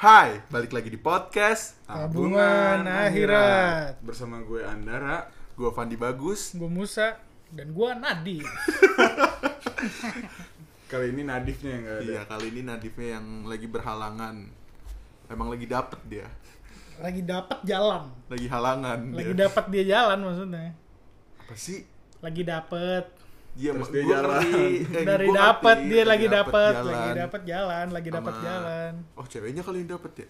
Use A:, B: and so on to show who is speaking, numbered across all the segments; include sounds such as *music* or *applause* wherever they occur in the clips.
A: Hai, balik lagi di podcast
B: Tabungan Akhirat.
A: Bersama gue Andara, gue Fandi Bagus.
B: gue Musa dan gue Nadi
C: Kali ini Nadifnya yang gak ada.
A: Iya, kali ini Nadifnya yang lagi berhalangan. Emang lagi dapet dia,
B: lagi dapat jalan
A: lagi halangan
B: lagi
A: dia.
B: dapat dia jalan maksudnya
A: Apa sih?
B: lagi dapat
A: Iya,
C: Terus
A: mak-
C: dia
A: gue
C: jalan.
A: ngerti. Eh,
B: dari
A: gue ngerti.
B: dapat dia lagi dapat
A: jalan.
B: lagi dapat jalan lagi
A: Sama-
B: dapat jalan
A: Oh, ceweknya kali ini dapet ya?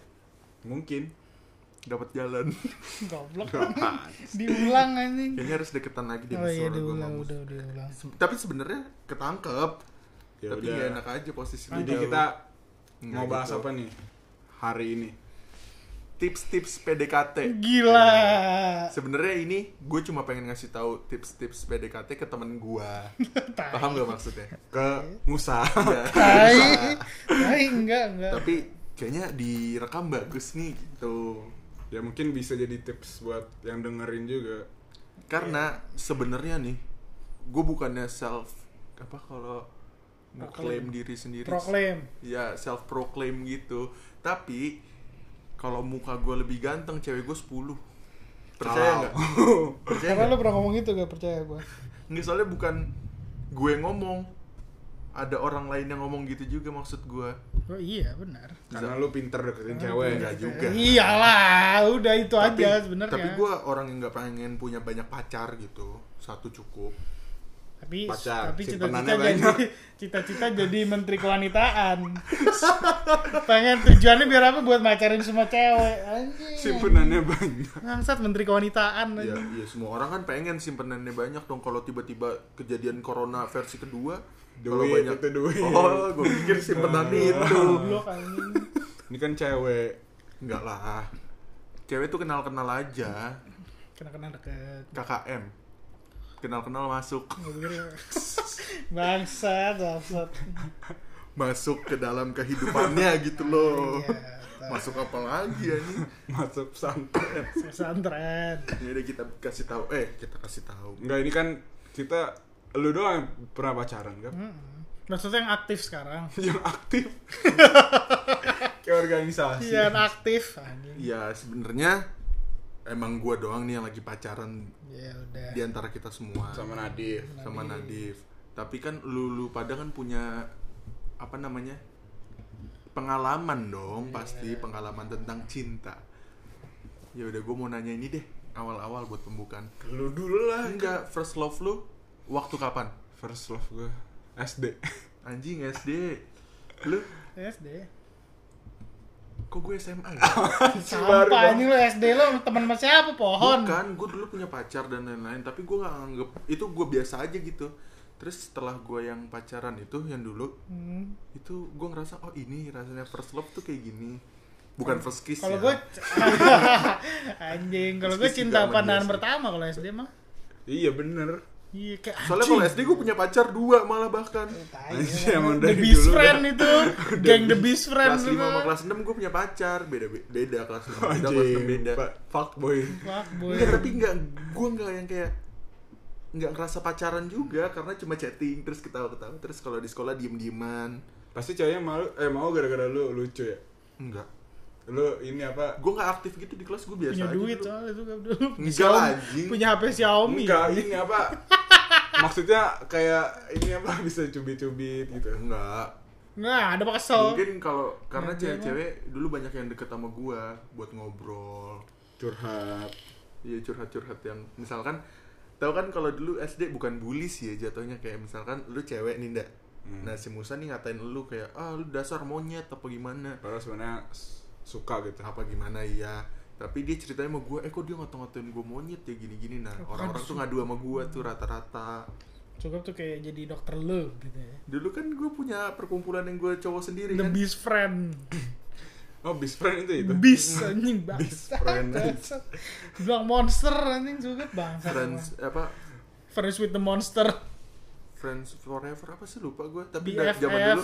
C: Mungkin.
A: Dapat
C: *laughs*
A: jalan.
B: goblok diulang anjing
A: Kayaknya harus deketan lagi deh
B: oh iya
A: suara gue
B: diulang
A: mau.
B: udah udah diulang
A: Se- Tapi sebenarnya ketangkep.
C: Ya
A: tapi
C: udah.
A: gak enak aja posisinya.
C: Jadi
A: jauh.
C: kita
A: Nggak
C: mau bahas
A: gitu.
C: apa nih hari ini?
A: Tips-tips PDKT.
B: gila
A: Sebenarnya ini gue cuma pengen ngasih tahu tips-tips PDKT ke temen gue. Iya.
B: Tai.
A: Paham gak maksudnya?
C: Ke Musa. *laughs*
A: Iya.
B: tai tai enggak enggak
A: Tapi kayaknya direkam bagus nih gitu.
C: ya mungkin bisa jadi tips buat yang dengerin juga.
A: Karena sebenarnya nih gue bukannya self apa kalau proclaim
B: Proclaim.
A: diri sendiri.
B: proklaim
A: Ya self proclaim gitu. Tapi kalau muka gue lebih ganteng, cewek gue 10. Percaya nggak? Percaya
B: karena
A: nggak?
B: lo pernah ngomong gitu gak percaya gue
A: Nggak, soalnya bukan gue ngomong ada orang lain yang ngomong gitu juga maksud gue
B: oh iya benar
C: Karena lu pinter deketin cewek.
A: enggak juga
B: Iya. iyalah udah itu
A: Tapi-
B: aja Iya, sebenarnya
A: tapi gue orang yang nggak pengen punya banyak pacar gitu satu cukup
B: tapi
C: Pacar,
B: tapi cita-cita
C: simpenannya
B: jadi
C: banyak.
B: cita-cita jadi menteri kewanitaan pengen tujuannya biar apa buat macarin semua cewek anjing
C: Simpenannya banyak.
B: bangsat menteri kewanitaan
A: ya,
C: Iya.
B: anjing.
A: ya semua orang kan pengen simpenannya banyak dong kalau tiba-tiba kejadian corona versi kedua kalau
C: Duit, itu duit. Iya.
A: oh gue pikir simpenannya itu
B: goblok anjing
C: Ini kan cewek.
A: enggak lah cewek tuh kenal-kenal aja
B: kena kena deket
A: KKM kenal-kenal masuk
B: Gua pikir, bangsat bangsat
A: masuk ke dalam kehidupannya gitu
C: Oh.
A: loh
B: Iya, tak.
A: masuk apa lagi ya nih
C: Masuk santai.
B: pesantren
A: Ya udah kita kasih tahu eh kita kasih tahu *laughs*
C: Enggak, ini kan kita lu doang yang pernah pacaran kan?
B: Mm-mm. maksudnya yang aktif sekarang
C: yang aktif. Kayak organisasi.
B: iya yang aktif anjing
A: ya sebenarnya emang gua doang nih yang lagi pacaran
B: ya udah
A: di
C: Iya.
A: antara kita semua
C: Sama Nadif.
A: sama Nadif tapi kan lu lu pada kan punya apa namanya pengalaman dong pasti pengalaman tentang cinta ya udah gua mau nanya ini deh awal-awal buat pembukaan
C: Lu dulu lah.
A: enggak first love lu waktu kapan
C: First love gue SD.
A: anjing SD lu
B: SD
A: kok gue SMA ya?
C: baru
B: Sampah ini lu SD lo teman sama siapa pohon
A: Bukan, gue dulu punya pacar dan lain-lain, tapi gue gak anggap itu gue biasa aja gitu. Terus setelah gue yang pacaran itu yang dulu
B: Hmm.
A: itu gue ngerasa oh ini rasanya first love tuh kayak gini. Bukan first kiss
B: Hmm.
A: ya.
B: Kalau gue *laughs* anjing, kalau gue
A: Pasti
B: cinta
A: tidak
B: pandangan
A: menjelaskan.
B: pertama kalau SD mah.
C: *laughs* Iya bener.
B: Iya kayak
A: Soalnya Iya,
B: anjing.
A: kalau SD gue punya pacar dua malah bahkan.
B: Tai,
A: *laughs*
C: Anjing,
B: ya.
C: emang
B: The
C: dari
B: best
C: dulu
B: friend itu, geng the best friend
A: Kelas
B: itu.
A: 5 sama kelas 6 gue punya pacar, beda beda kelas 5 beda kelas 6
C: Anjing,
A: beda.
C: Pak, fuck boy.
B: Fuck boy.
A: Enggak, tapi enggak gue enggak yang kayak nggak ngerasa pacaran juga karena cuma chatting terus ketawa-ketawa terus kalau di sekolah diem-dieman
C: Pasti ceweknya malu eh mau gara-gara lu lucu ya.
A: enggak
C: Lu ini apa?
A: gue nggak aktif gitu di kelas gue biasa
B: punya
A: aja gitu.
B: duit
A: dulu.
B: soalnya itu dulu.
A: Enggak lah, anjing. iya.
B: Punya HP Xiaomi.
C: Enggak, ini apa? *laughs* Maksudnya kayak ini apa *laughs* bisa cubit-cubit gitu.
A: Enggak.
B: Nah, ada apa kesel?
A: Mungkin kalau karena
B: Nanti
A: cewek-cewek dulu banyak yang deket sama gua buat ngobrol.
C: Curhat.
A: Iya curhat-curhat yang misalkan tahu kan kalau dulu SD bukan bully sih ya jatuhnya kayak misalkan lu cewek nih ndak.
C: Hmm.
A: Nah, si Musa nih ngatain lu kayak ah lu dasar monyet apa gimana.
C: Padahal sebenarnya s- suka gitu.
A: Apa gimana iya. Tapi dia ceritanya sama gua, eh kok dia ngata-ngatain gua monyet ya gini-gini nah.
B: Apaan
A: Orang-orang tuh
B: sih?
A: ngadu sama gua tuh rata-rata.
B: Cukup tuh kayak jadi dokter lo gitu ya.
A: Dulu kan gue punya perkumpulan yang gue cowok sendiri
B: The
A: kan.
B: best friend.
C: Oh, best friend itu
A: Gitu.
C: itu. *laughs*
B: Bis
A: Hmm.
B: anjing bangsa.
C: friend.
B: Bangsa. Bilang monster anjing juga bangsa.
A: Friends apa
B: Friends with the monster.
A: Friends Forever apa sih lupa gue tapi da-
B: BFF.
A: zaman dulu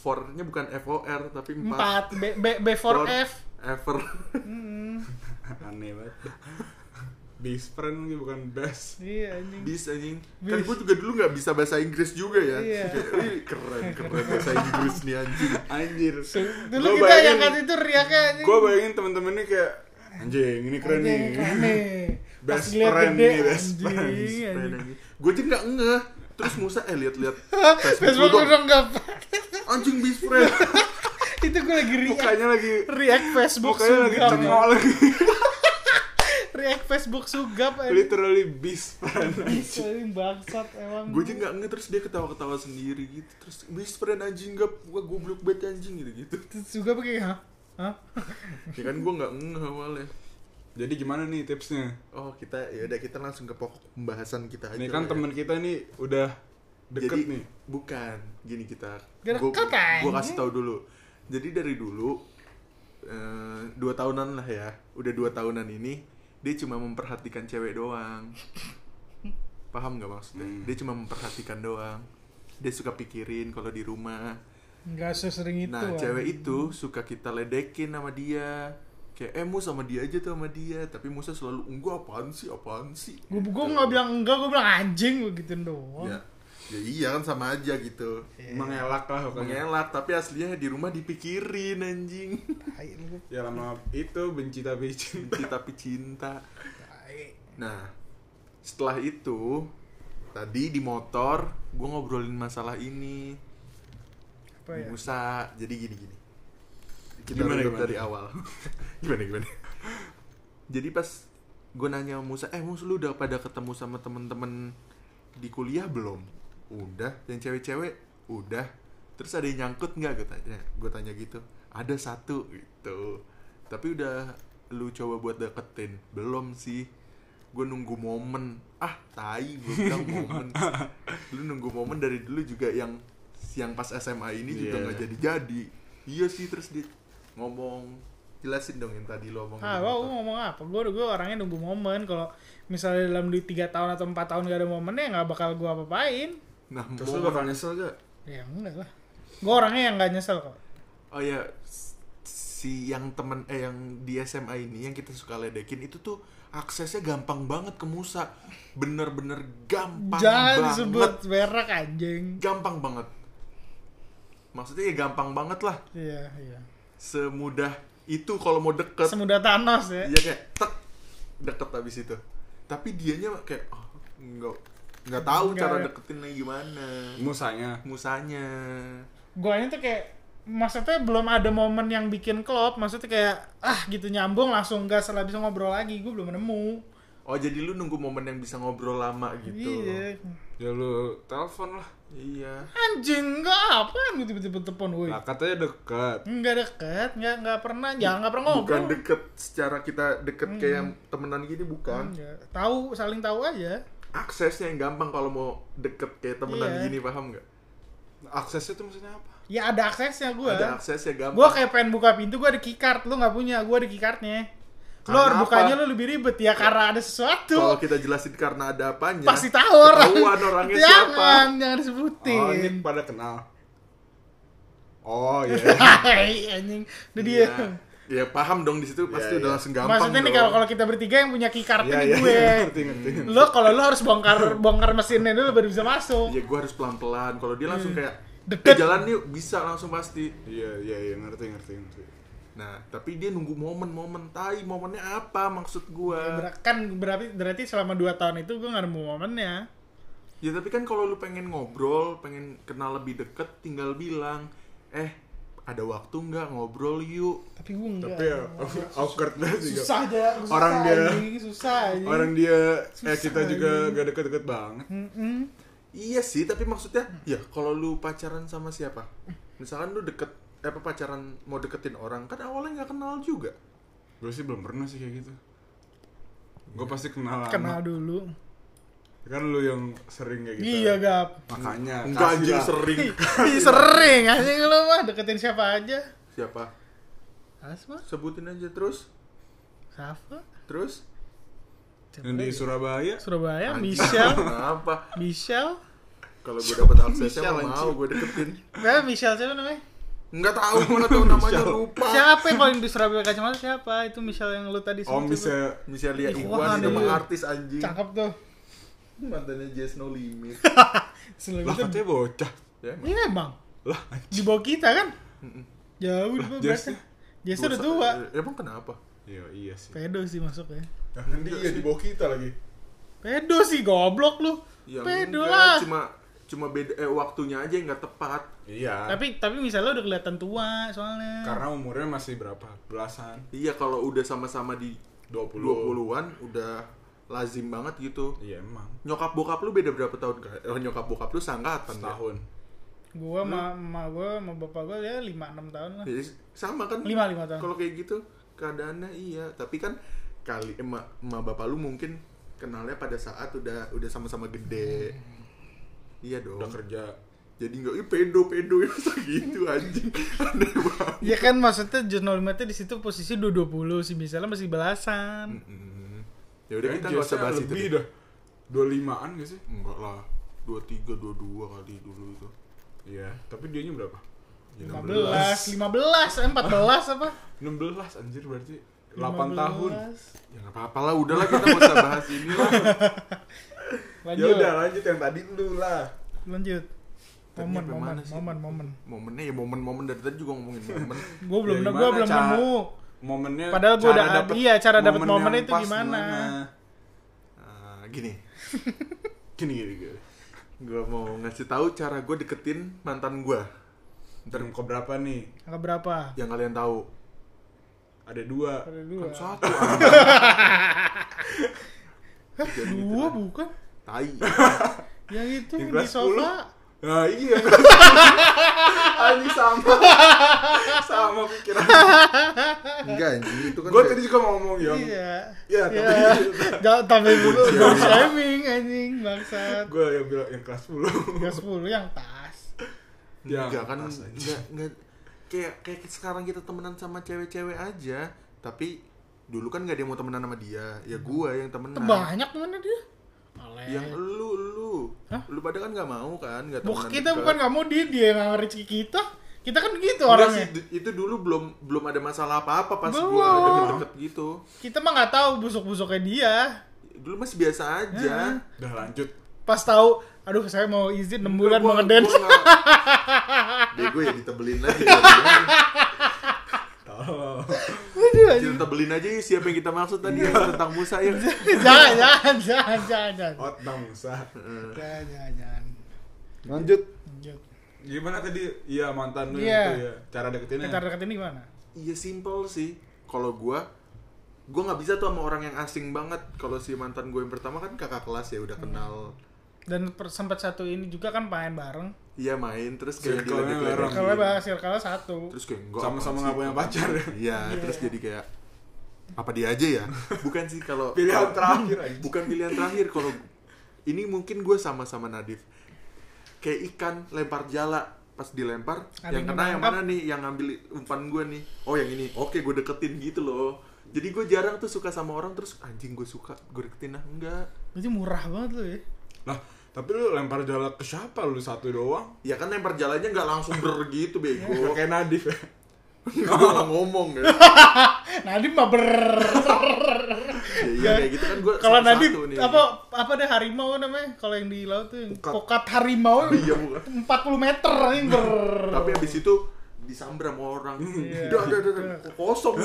A: for-nya bukan FOR tapi 4
B: 4 B B B4F
A: ever *laughs*
B: Hmm.
C: Aneh banget. *laughs* best friend gitu, bukan
B: *laughs*
C: best
B: Iya anjing.
A: bis anjing kan
B: Bis.
A: gue juga dulu nggak bisa bahasa Inggris juga ya
B: Iya.
A: Kayak, "Wih, keren keren bahasa Inggris nih anjing
C: anjir
B: Dulu
C: Gua
B: kita yang
C: bayangin-
B: angkat itu riaknya anjing.
C: gue bayangin temen-temennya kayak anjing ini keren
B: Anjing,
C: nih *laughs*
B: keren nih. Pas
C: Best
B: ngeliat
C: friend
B: gede,
C: nih, best
B: *laughs* anjing,
C: friend,
B: anjing. *laughs*
A: gue aja nggak ngeh terus Musa eh lihat-lihat
B: Facebook
A: Facebook
B: lu
A: gue dong
B: dong nggak
A: anjing bis friend
B: *laughs* Itu gue lagi react
C: mukanya lagi
B: React Facebook
C: mukanya lagi
B: sugap
C: cengok lagi *laughs*
B: React Facebook sugap anjing.
C: literally best friend
B: *laughs* Bisa, Anjing bangsat emang
A: gue aja nggak ngeh terus dia ketawa-ketawa sendiri gitu terus bis friend anjing gak gue goblok banget anjing gitu gitu
B: Sugap kayak hah? Hah?
A: ya kan gue nggak ngeh awalnya
C: jadi gimana nih tipsnya
A: oh kita ya udah kita langsung ke pokok pembahasan kita aja
C: ini
A: lah
C: kan
A: ya.
C: temen kita nih udah deket
A: Jadi,
C: nih
A: bukan gini kita
B: Gak
A: gue
B: deket, anjing.
A: gua kasih tahu dulu jadi dari dulu eh, dua tahunan lah ya udah dua tahunan ini dia cuma memperhatikan cewek doang paham nggak maksudnya
C: Hmm.
A: dia cuma memperhatikan doang dia suka pikirin kalau di rumah
B: Nggak sesering itu
A: nah
B: Gitu anjing.
A: cewek itu suka kita ledekin sama dia kayak eh Mus sama dia aja tuh sama dia tapi Musa selalu enggak apaan sih apaan sih
B: Gue gue
A: Gitu.
B: nggak bilang enggak, gue bilang anjing gue gituin doang.
A: ya, ya iya kan sama aja gitu
B: Iya.
C: mengelak lah pokoknya
A: mengelak tapi aslinya di rumah dipikirin anjing *laughs*
B: Tai lu,
C: ya lama itu benci tapi cinta
A: benci tapi cinta
B: tai.
A: nah setelah itu tadi di motor gue ngobrolin masalah ini
B: Apa ya?
A: Musa jadi gini gini kita
C: Gimana,
A: runut
C: gimana?
A: dari
C: *laughs*
A: awal gimana gimana jadi pas gue nanya sama Musa eh Mus lu udah pada ketemu sama temen-temen di kuliah belum udah yang cewek-cewek udah terus ada yang nyangkut nggak gue tanya gue tanya gitu ada satu gitu tapi udah lu coba buat deketin belum sih gue nunggu momen ah tai gue bilang
C: *laughs*
A: momen lu nunggu momen dari dulu juga yang yang pas SMA ini juga
C: Iya.
A: nggak jadi-jadi iya sih terus dia ngomong jelasin dong yang tadi lo ngomong
B: Ah, gua, gua ngomong apa? Gue gue orangnya nunggu momen. Kalau misalnya dalam di tiga tahun atau empat tahun gak ada momennya, nggak bakal gue apa-apain.
A: nah
C: terus lu
A: momen-
C: bakal nyesel gak
B: Ya enggak lah. Gue orangnya yang nggak nyesel kok.
A: Oh ya si yang temen eh yang di SMA ini yang kita suka ledekin itu tuh aksesnya gampang banget ke Musa. Bener-bener gampang banget.
B: Jangan disebut berak anjing.
A: Gampang banget. Maksudnya ya gampang banget lah.
B: Iya, iya.
A: Semudah itu kalau mau deket
B: Semudah Thanos ya.
A: dia kayak tek deket abis itu. Tapi dianya kayak oh, nggak nggak tahu
B: Nggak
A: cara
B: ada.
A: deketinnya gimana.
C: musanya
A: Musanya.
B: Guanya tuh kayak maksudnya belum ada momen yang bikin klop, maksudnya kayak ah gitu nyambung langsung gas setelah bisa ngobrol lagi. Gue belum nemu.
A: Oh jadi lu nunggu momen yang bisa ngobrol lama gitu.
B: Iya.
C: ya lu telepon lah
A: Iya.
B: Anjing, enggak apaan gitu tiba-tiba telepon, woi.
C: lah katanya deket
B: Enggak deket, enggak enggak pernah, ya enggak pernah ngobrol. Hmm.
A: bukan deket secara kita deket kayak temenan gini bukan
B: Enggak. Iya. Tahu saling tahu aja.
A: aksesnya yang gampang kalau mau deket kayak temenan
B: Iya.
A: gini paham nggak
C: aksesnya tuh maksudnya apa
B: Ya ada aksesnya gua.
A: ada aksesnya gampang
B: Gua kayak pengen buka pintu, gua ada keycard, lu nggak punya, gua ada keycardnya. Lu
C: Karena
B: harus bukanya
C: apa?
B: lu lebih ribet ya karena
A: kalau
B: ada sesuatu.
A: kita jelasin karena ada apanya
B: Pasti tahu orang.
A: ketahuan orangnya
B: jangan,
A: siapa
B: jangan disebutin.
C: oh ini pada kenal oh iya
A: *laughs*
B: Hai, anjing. Udah
A: Iya.
B: dia.
A: ya paham dong di situ pasti
C: Iya,
A: udah
C: iya.
A: langsung gampang
B: Maksudnya nih
A: dong.
B: kalau kalau kita bertiga yang punya keycardnya
C: Iya,
B: nih
C: iya,
B: gue.
C: iya, ngerti, ngerti.
B: Lu kalau lu harus bongkar bongkar mesinnya dulu baru bisa masuk.
A: ya gue harus pelan pelan kalau dia langsung kayak
B: Hmm.
A: "Eh,
B: Deket.
A: jalan yuk bisa langsung pasti
C: Iya, iya, iya, ngerti, ngerti, ngerti.
A: nah tapi dia nunggu momen-momen tai momennya apa maksud gue
B: Ya, ber- kan berarti berarti selama 2 tahun itu gue gak nemu momennya
A: Ya tapi kan kalau lu pengen ngobrol, pengen kenal lebih deket, tinggal bilang, eh ada waktu nggak ngobrol yuk.
B: tapi gue enggak
C: Tapi ya, *laughs* awkward banget juga.
B: Iya. susah aja susah
C: Iya. Orang dia-
B: anjing, susah aja
C: Orang dia, eh
B: Susah
C: kita juga gak deket-deket banget.
B: Mm-mm.
A: Iya sih, tapi maksudnya ya kalau lu pacaran sama siapa, misalkan lu deket, eh, apa pacaran mau deketin orang kan awalnya nggak kenal juga.
C: Gue sih belum pernah sih kayak gitu. Gue pasti kenal lama.
B: kenal dulu
C: Kan lu yang sering kayak gitu.
B: iya gap
C: Makanya.
A: Enggak
C: Nah, kasih
A: anjing
C: lah. *laughs*
A: sering.
B: Ih, sering anjing lu mah deketin siapa aja
A: siapa?
B: Asma
A: Sebutin aja terus,
B: siapa
A: terus.
B: Siapa
C: Yang di
B: lagi?
C: Surabaya.
B: Surabaya
A: Anjing,
B: Ya, Michelle
A: *laughs* Kenapa?
B: Michelle
A: Kalau gue dapet aksesnya
B: *laughs*
C: Michelle,
A: mau
C: anjing.
A: gue deketin.
B: Nah, Michelle siapa namanya
A: Nggak tahu, nggak tahu namanya
C: Michelle.
A: lupa.
B: Siapa yang paling disuruh pakai kacamata siapa? Itu Michelle yang lu tadi
C: Oh,
B: sebut.
C: misalnya
A: Michelle
B: Ih,
A: Iwan,
B: wah,
A: nama
B: iya.
A: artis anjing.
B: Cakep tuh.
A: Mantannya Jess No Limit.
C: lah kan
B: Selalu gitu.
C: katanya bocah.
A: ya, emang.
B: Ini memang
C: Lah,
B: Iya, di bawah kita kan? Jauh di bawah
C: Jesse.
B: berarti. Jesse udah
A: Dua-
B: tua.
A: eh, Emang kenapa?
C: iya iya sih.
B: Pedo sih masuknya.
A: kan
C: Nanti iya di bawah kita lagi.
B: Pedo sih goblok lu.
A: Ya,
B: Pedo
A: enggak,
B: lah.
A: Cuma cuma beda eh, waktunya aja yang nggak tepat. Ah.
C: Iya.
B: Tapi tapi misalnya udah kelihatan tua soalnya.
C: karena umurnya masih berapa? Belasan,
A: Iya kalau udah sama-sama di
C: 20.
A: 20-an udah lazim banget gitu.
C: Iya, emang.
A: Nyokap bokap lu beda berapa tahun? Kak? Eh, nyokap bokap lu sangkatan ya?
C: Setahun.
B: Gua sama ma gua sama bapak gua ya 5 6 tahun lah.
A: Jadi sama kan?
B: 5 5 tahun.
A: Kalau kayak gitu keadaannya iya, tapi kan kali emak emak bapak lu mungkin kenalnya pada saat udah udah sama-sama gede. Iya dong.
C: Udah kerja.
A: Jadi nggak ih pedo pedo *laughs* ya masa gitu anjing. Aneh banget.
B: Ya kan maksudnya jurnal limitnya di situ posisi 220 sih misalnya masih belasan.
A: Mm-mm. Ya udah kita
C: Kayaknya
A: nggak usah
C: Jesse-nya
A: bahas itu.
C: lebih
A: deh.
C: dah. 25-an gak sih?
A: Enggak lah. 23 22 kali dulu itu.
C: Iya, tapi dianya berapa?
A: Ya,
B: 15, 15, eh, 14 apa?
C: 16 anjir berarti 8 tahun.
B: 15.
A: Ya nggak apa-apa lah, udahlah kita nggak usah bahas ini lah.
B: Lanjut.
C: Ya udah lanjut yang tadi dulu lah.
B: Lanjut.
A: Tadi
B: Momen,
A: sampai
B: momen,
A: mana sih?
B: momen, momen.
A: Momennya ya momen-momen dari tadi juga ngomongin momen.
B: Gue belum,
C: Ya,
B: gua
C: gimana
B: belum
C: cara-
B: nemu.
C: Momennya
B: Padahal gua
C: cara
B: udah-
C: dapet
B: iya, cara dapet
C: momen
B: momen
C: yang
B: itu
C: pas
B: gimana.
A: Ah, gini,
C: Gini gini gini.
A: gue mau ngasih tahu cara gue deketin mantan gue.
C: Ntar ke berapa nih?
B: Angka berapa?
A: Yang kalian tahu.
C: Ada dua.
B: Ada dua.
A: Kan satu. Kan Jadi gitu
B: Dua bukan?
A: tai.
B: Yang itu
C: Yang
B: di
C: kelas
B: sofa.
C: Nah iya. *laughs* Anjing sama. sama pikiran.
A: Enggak anjing, itu kan
C: Gue
A: kayak-
C: tadi juga mau ngomong yang.
B: Iya.
C: Iya,
B: Iya.
C: tapi
B: Gak tambah dulu. Iya. Shaming anjing bangsat.
C: *laughs* gue yang bilang yang kelas 10
B: Yang 10 yang tas.
C: Ya,
A: enggak kan
C: pantas aja.
A: enggak enggak kayak kayak sekarang kita temenan sama cewek-cewek aja, tapi dulu kan nggak ada yang mau temenan sama dia. Ya gua yang temenan.
B: Itu banyak mana dia? Oleh.
A: Yang lu lu.
B: Eh. Hah?
A: Lu pada kan nggak mau kan, nggak
B: Bukan
A: temenan.
B: kita
A: dekat.
B: bukan kamu dia dia yang rezeki kita. Kita kan gitu
A: Enggak
B: orangnya.
A: sih, du- itu dulu belum belum ada masalah apa-apa pas gua
B: Belum.
A: deket-deket gitu.
B: Kita mah nggak tahu busuk-busuknya dia.
A: Dulu masih biasa aja.
C: *laughs*
B: Hmm,
C: udah lanjut
B: Pas tahu, aduh saya mau izin 6 bulan mau
A: Gua-
B: ngedance.
A: gua
B: *laughs*
A: nggak- Bego ya ditebelin lagi. jadinya.
B: Iya.
C: tolong
B: Aduh,
A: Kita tebelin aja yuk, siapa yang kita maksud tadi yang
B: Iya.
A: tentang Musa ya.
B: jangan, jangan, jangan, jangan, jangan,
A: Oh.
C: out dong Musa
B: jangan, jangan, jangan.
C: lanjut
B: Lanjut.
A: Nah.
C: gimana tadi iya mantan lu
B: Iya.
C: itu ya cara deketinnya
B: Kita dekat ini gimana?
A: Iya simple sih. Kalau gua gua nggak bisa tuh sama orang yang asing banget. Kalau si mantan gue yang pertama kan kakak kelas ya udah kenal.
B: Hmm. Dan per- sempat satu ini juga kan main bareng.
A: Iya main terus kayak
C: Circle-nya bareng.
A: diledek-ledekin.
B: Kalau bahas circle satu.
A: Iya. Terus kayak enggak
C: sama-sama nggak punya pacar *laughs*
A: Iya, terus jadi kayak apa dia aja ya? Bukan sih kalau
C: pilihan terakhir aja
A: bukan pilihan terakhir kalau ini mungkin gue sama-sama Nadif. Kayak ikan lempar jala pas dilempar
B: Ada
A: yang
B: yang
A: kena yang
B: nangkap.
A: mana nih yang ngambil umpan gue nih oh yang ini oke gue deketin gitu loh jadi gue jarang tuh suka sama orang terus anjing gue suka gue deketin ah enggak
B: Berarti murah banget lu ya.
C: lah tapi lu lempar jala ke siapa lu satu doang
A: ya kan lempar jalanya nggak langsung ber gitu
C: Gak
A: bego
C: *laughs* kayak Nadif ya
A: gue nggak ngomong ya.
B: Nadiem mah ber.
A: ya iya kayak gitu kan gue
B: Kalau Nadiem apa apa deh harimau namanya? Kalau yang di laut tuh yang
A: Pukat.
B: kokat harimau
A: iya bukan
B: 40 meter ini ber.
A: tapi abis itu disambram sama orang *laughs*
B: Iya. Eh,
A: udah udah udah udah.
B: *laughs*
A: kosong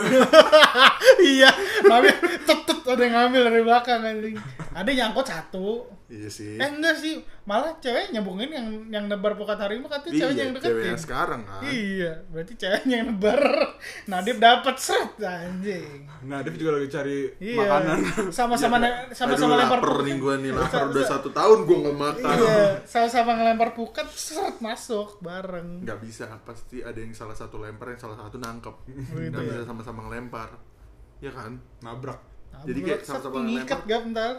B: iya, tapi tetep ada yang ngambil dari belakang anjing. Ada yang nyangkut satu.
A: iya sih
B: Eh enggak sih, malah cewek nyambungin yang yang nebar pukat harimau katanya ceweknya yang deketin.
A: ceweknya Iya, sekarang kan
B: Iya, berarti ceweknya yang nebar. Nadif dapat seret anjing.
C: Nadif Nah, juga lagi cari
B: Iya.
C: makanan *laughs*
B: Sama-sama ne-
A: kan?
B: sama-sama
A: Iya, Aduh,
B: lempar
A: lapar
B: pukat.
A: nih gue nih lapar udah satu tahun gue nggak makan
B: Iya, sama-sama ngelempar pukat seret masuk bareng.
A: nggak bisa pasti ada yang salah satu lempar yang salah satu nangkep
B: Gitu
A: nggak
B: ya.
A: bisa sama-sama ngelempar ya kan
C: nabrak
B: Nah,
A: Jadi kayak sama-sama
B: ngikat
A: ngelempar.
B: gak bentar.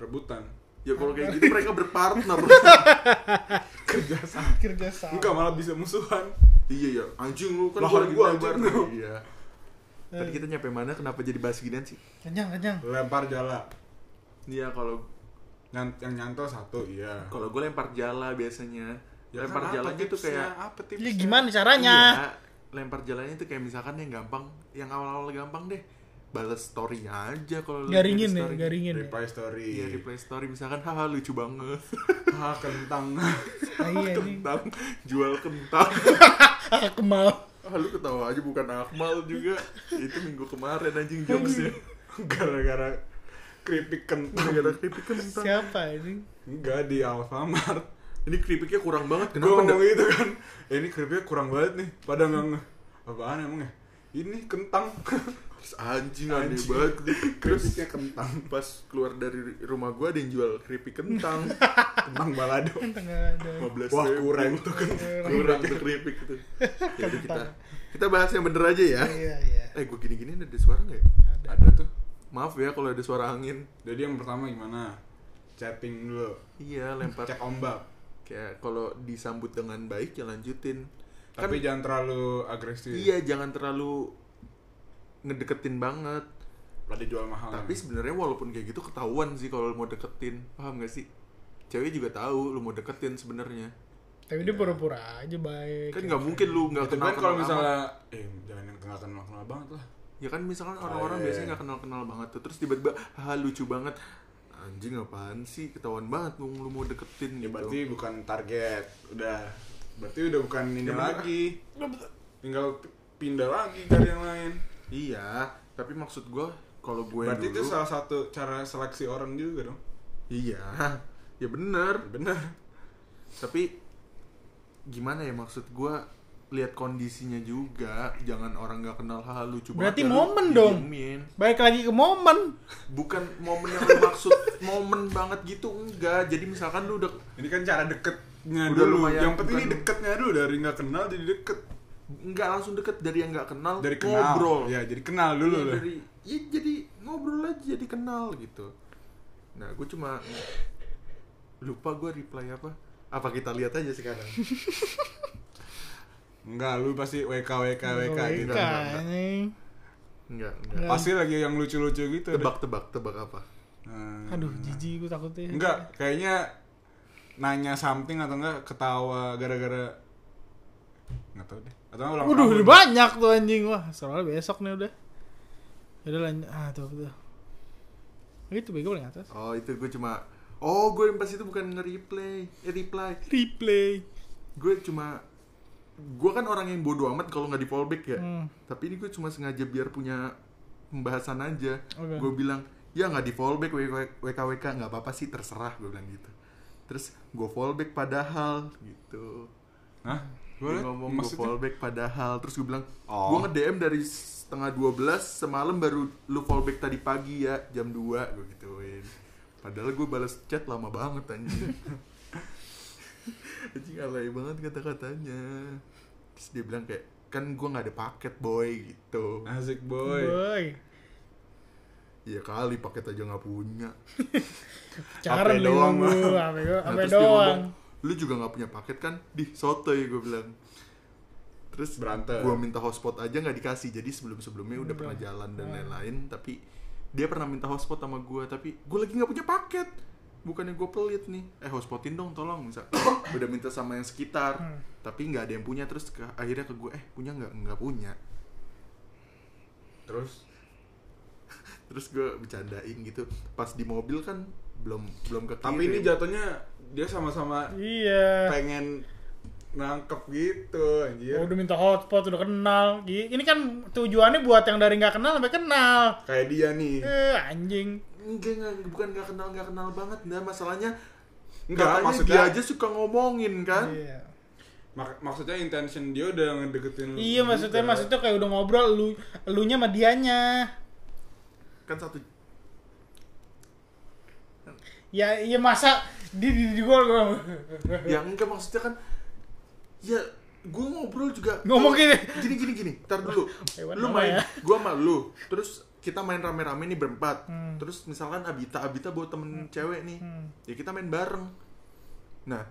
C: rebutan
A: ya kalau kayak
B: Iya.
A: gitu mereka
B: *laughs*
A: berpartner
C: kerja sama
B: Kerja sama.
C: enggak malah bisa musuhan
A: iya ya anjing lu kan
C: Lah,
A: gue lagi
C: gua
A: lebar
C: anjing lu.
A: iya
B: Eh.
A: tadi kita nyampe mana kenapa jadi bahas ginian sih
B: Kenyang, kenyang.
C: lempar jala
A: iya kalau
C: Nyant- yang nyantol satu iya
A: kalau gue lempar jala biasanya lempar
C: kan apa
A: jalannya tuh
C: tipsnya?
A: Ya, gitu? kayak
C: apa tipsnya?
B: Ya gimana caranya?
A: Iya, lempar jalannya tuh kayak misalkan yang gampang, yang awal-awal gampang deh. Balas story aja kalau lu lihat
B: Garingin ya,
A: story.
B: garingin. ya.
C: Reply story.
A: Iya, replay story misalkan haha lucu banget.
C: *laughs*
A: *laughs*
C: Ah, kentang. *laughs*
B: Ah, iya ini.
A: kentang, jual kentang. *laughs*
B: Ah, Kemal.
A: Ah, lu ketawa aja bukan Akmal juga. Itu minggu kemarin anjing
B: Iya.
A: jokesnya.
C: Gara-gara keripik kentang.
A: Gara-gara keripik kentang.
B: Siapa ini?
C: Enggak di Alfamart.
A: Ini keripiknya kurang banget.
C: Gue
A: Kenapa?
C: ngomong
A: ndak?
C: gitu kan. "Eh, ini keripiknya kurang banget nih. Pada nggak nge- Apaan emang ya? Ini kentang. *laughs*
A: Terus anjing aneh
C: Anjing.
A: banget.
C: *laughs*
A: Terus
C: Keripiknya kentang.
A: pas keluar dari rumah gua ada yang jual keripik kentang.
B: *laughs*
C: Kentang balado.
B: Kan tengah ada.
A: 15
C: Wah,
A: ribu.
C: kurang tuh kentang.
A: kurang tuh keripik
B: *laughs*
A: itu. Jadi kita
B: Kentang.
A: kita bahas yang bener aja ya.
B: Iya, iya.
A: Eh gue gini-gini ada suara nggak ya?
B: Ada.
C: Ada tuh.
A: Maaf ya kalau ada suara angin.
C: Jadi yang pertama gimana? Chatting dulu.
A: Iya lempar.
C: *laughs* Cek ombak.
A: Kayak kalau disambut dengan baik ya lanjutin. Kan
C: Tapi jangan terlalu agresif.
A: iya jangan terlalu ngedeketin banget.
C: Ada jual mahal.
A: Tapi sebenarnya walaupun kayak gitu ketahuan sih kalau lu mau deketin. Paham gak sih? Cewek juga tahu lu mau deketin sebenarnya.
B: Tapi dia pura-pura aja baik.
A: Kan nggak mungkin lu nggak
C: Gitu
A: kenal
C: kan kalau
A: kenal
C: misalnya eh jangan yang kenal kenal kenal banget lah.
A: ya kan misalkan
C: Oh,
A: orang-orang
C: iya.
A: biasanya nggak kenal-kenal banget tuh terus tiba-tiba haha lucu banget anjing apaan sih ketahuan banget lu, lu mau deketin
C: Ya
A: gitu
C: berarti bukan target. Udah berarti udah bukan ini
A: Ya, bener.
C: lagi. Tinggal p- pindah lagi cari yang lain.
A: iya tapi maksud gua kalau gue
C: Berarti
A: dulu
C: itu salah satu cara seleksi orang juga dong.
A: iya *laughs* ya bener
C: Bener.
A: tapi gimana ya maksud gua lihat kondisinya juga jangan orang nggak kenal haha lucu
B: Berarti
A: banget ya lu
B: momen dong.
A: didiemin.
B: Baik lagi ke momen.
A: bukan momen yang lu
B: *laughs*
A: maksud momen banget gitu enggak jadi misalkan lu udah
C: Ini kan cara deketnya
A: Udah
C: dulu.
A: lumayan,
C: yang penting ini
A: bukan-
C: deketnya dulu dari nggak kenal jadi deket.
A: nggak langsung deket dari yang nggak kenal
C: Dari kenal.
A: Oh, ngobrol
C: Ya jadi kenal
A: Iya,
C: dulu lah.
A: dari ya jadi ngobrol aja jadi kenal gitu nah gue cuma lupa gue reply apa apa kita lihat aja sekarang
C: Enggak, lu pasti WK WK
A: Iya,
C: WK gitu.
B: WK ini.
A: enggak
B: Enggak.
A: enggak
C: Pasti lagi yang lucu-lucu gitu. deh.
A: tebak-tebak tebak apa
C: Nah.
B: Aduh, jijik gue takutnya.
C: Enggak, kayaknya nanya something atau enggak ketawa gara-gara nggak tahu deh. Atau enggak ulang
B: Waduh,
C: tahun.
B: udah banyak tuh anjing. Wah, soalnya besok nih udah. Udah lanjut. Ah, tuh, tuh. Itu bego paling atas.
A: oh itu gue cuma oh gue yang pas itu bukan nge-replay eh, reply
B: Replay.
A: gue cuma gue kan orang yang bodoh amat kalau nggak di fallback ya
B: Hmm.
A: tapi ini gue cuma sengaja biar punya pembahasan aja
B: Oke.
A: gue bilang ya nggak di fallback WKWK nggak apa-apa sih terserah gue bilang gitu terus gue fallback padahal gitu
C: Hah? Gua
A: dia ngomong gue
C: maksudnya
A: fallback padahal terus gue bilang
C: Oh.
A: gue nge DM dari setengah 12 semalam baru lu fallback tadi pagi ya jam 2 gue gituin padahal gue balas chat lama banget anjing anjing alay banget kata-katanya terus dia bilang kayak kan gue nggak ada paket boy gitu
C: asik boy.
B: Boy.
A: Iya kali paket aja nggak punya.
B: Cara
C: Ape
B: lu
C: doang,
B: doang. Apa
C: Bang.
B: doang?
A: Nah,
B: Ape
A: dia
B: doang.
A: ngomong, lu juga nggak punya paket kan? Di sotoy gue bilang. Terus
C: Berantem. Hmm.
A: Gue minta hotspot aja nggak dikasih. Jadi sebelum sebelumnya udah pernah jalan dan lain-lain. Tapi dia pernah minta hotspot sama gue. Tapi gue lagi nggak punya paket. Bukannya gue pelit nih. Eh hotspotin dong tolong. Misal *coughs* udah minta sama yang sekitar.
B: Hmm.
A: Tapi nggak ada yang punya. Terus ke- akhirnya ke gue eh punya nggak? Nggak punya.
C: Terus
A: Terus gue bercandain gitu. Pas di mobil kan belum belum ke
C: tapi ini
A: kiri.
C: jatuhnya dia sama-sama
B: Iya.
C: pengen nangkep gitu
B: Oh,
C: anjir.
B: udah minta hotspot, udah kenal. Ih, Ini kan tujuannya buat yang dari nggak kenal sampai kenal.
C: Kayak dia nih.
B: Eh, anjing.
A: Enggak, enggak, bukan nggak kenal nggak kenal banget, nah masalahnya
C: Enggak,
A: katanya
C: maksudnya-
A: dia aja suka ngomongin kan.
B: Iya.
C: Mak- maksudnya intention dia udah ngedeketin lu
B: Iya,
C: juga.
B: maksudnya maksudnya kayak udah ngobrol lu elunya sama dianya.
A: Kan satu
B: Ya, iya masa di di, di gua gua-
A: ya enggak maksudnya kan ya gue ngobrol juga
B: Ngomong gini.
A: gini gini gini tar dulu
B: *laughs* Hewan
A: lu
B: apa
A: main
B: ya?
A: gue sama lu terus kita main rame-rame nih berempat
B: Hmm.
A: terus misalkan Abita Abita bawa temen cewek nih ya kita main bareng nah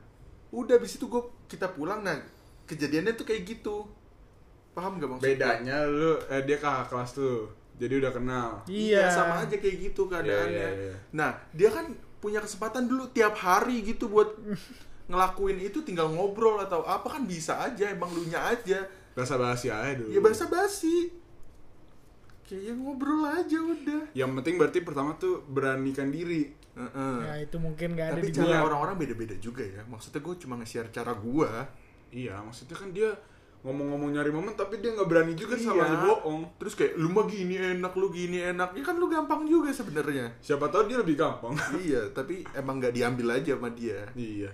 A: udah abis itu gue kita pulang nah kejadiannya tuh kayak gitu paham gak maksudnya
C: bedanya lu eh, dia kakak kelas tuh. Jadi udah kenal.
A: Iya,
B: Iya.
A: sama aja kayak gitu keadaannya.
C: Iya, iya, iya.
B: *laughs*
A: Nah, dia kan punya kesempatan dulu tiap hari gitu buat ngelakuin itu tinggal ngobrol atau apa kan bisa aja emang lu nya aja
C: Bahasa basi aja dulu.
A: ya
B: Iya.
A: bahasa basi kayak ya ngobrol aja udah
C: Yang penting berarti pertama tuh beranikan diri.
A: Heeh.
B: Ya itu mungkin gak ada
A: tapi
B: di
A: cara
B: gua.
A: orang-orang beda-beda juga ya maksudnya gue cuma nge-share cara gue
C: Iya, maksudnya kan dia ngomong-ngomong nyari momen tapi dia nggak berani juga
A: Iya.
C: sama aja bohong.
A: terus kayak lu mah gini enak lu gini enak ya kan lu gampang juga sebenarnya
B: *laughs*
C: Siapa tahu dia lebih gampang.
A: iya tapi emang nggak diambil aja sama dia
C: *laughs* iya.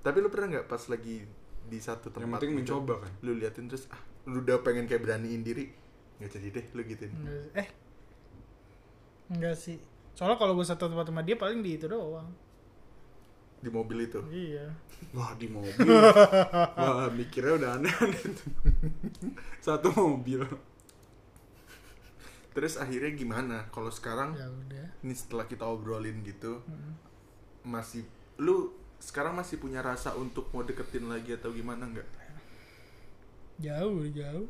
A: tapi lu pernah nggak pas lagi di satu tempat
C: Yang penting
A: gitu,
C: mencoba kan.
A: lu liatin terus ah lu udah pengen kayak beraniin diri nggak jadi deh lu gituin
B: Nggak- Eh. Enggak sih. Soalnya kalau gua satu tempat sama dia paling di itu doang.
A: di mobil itu
B: Iya.
C: Wah di mobil. *laughs* Wah mikirnya udah aneh-aneh
A: *laughs*
C: tuh. Satu mobil.
A: terus akhirnya gimana kalau sekarang
B: Ya udah.
A: ini setelah kita obrolin gitu
B: Mm.
A: masih lu sekarang masih punya rasa untuk mau deketin lagi atau gimana nggak
B: Jauh, jauh.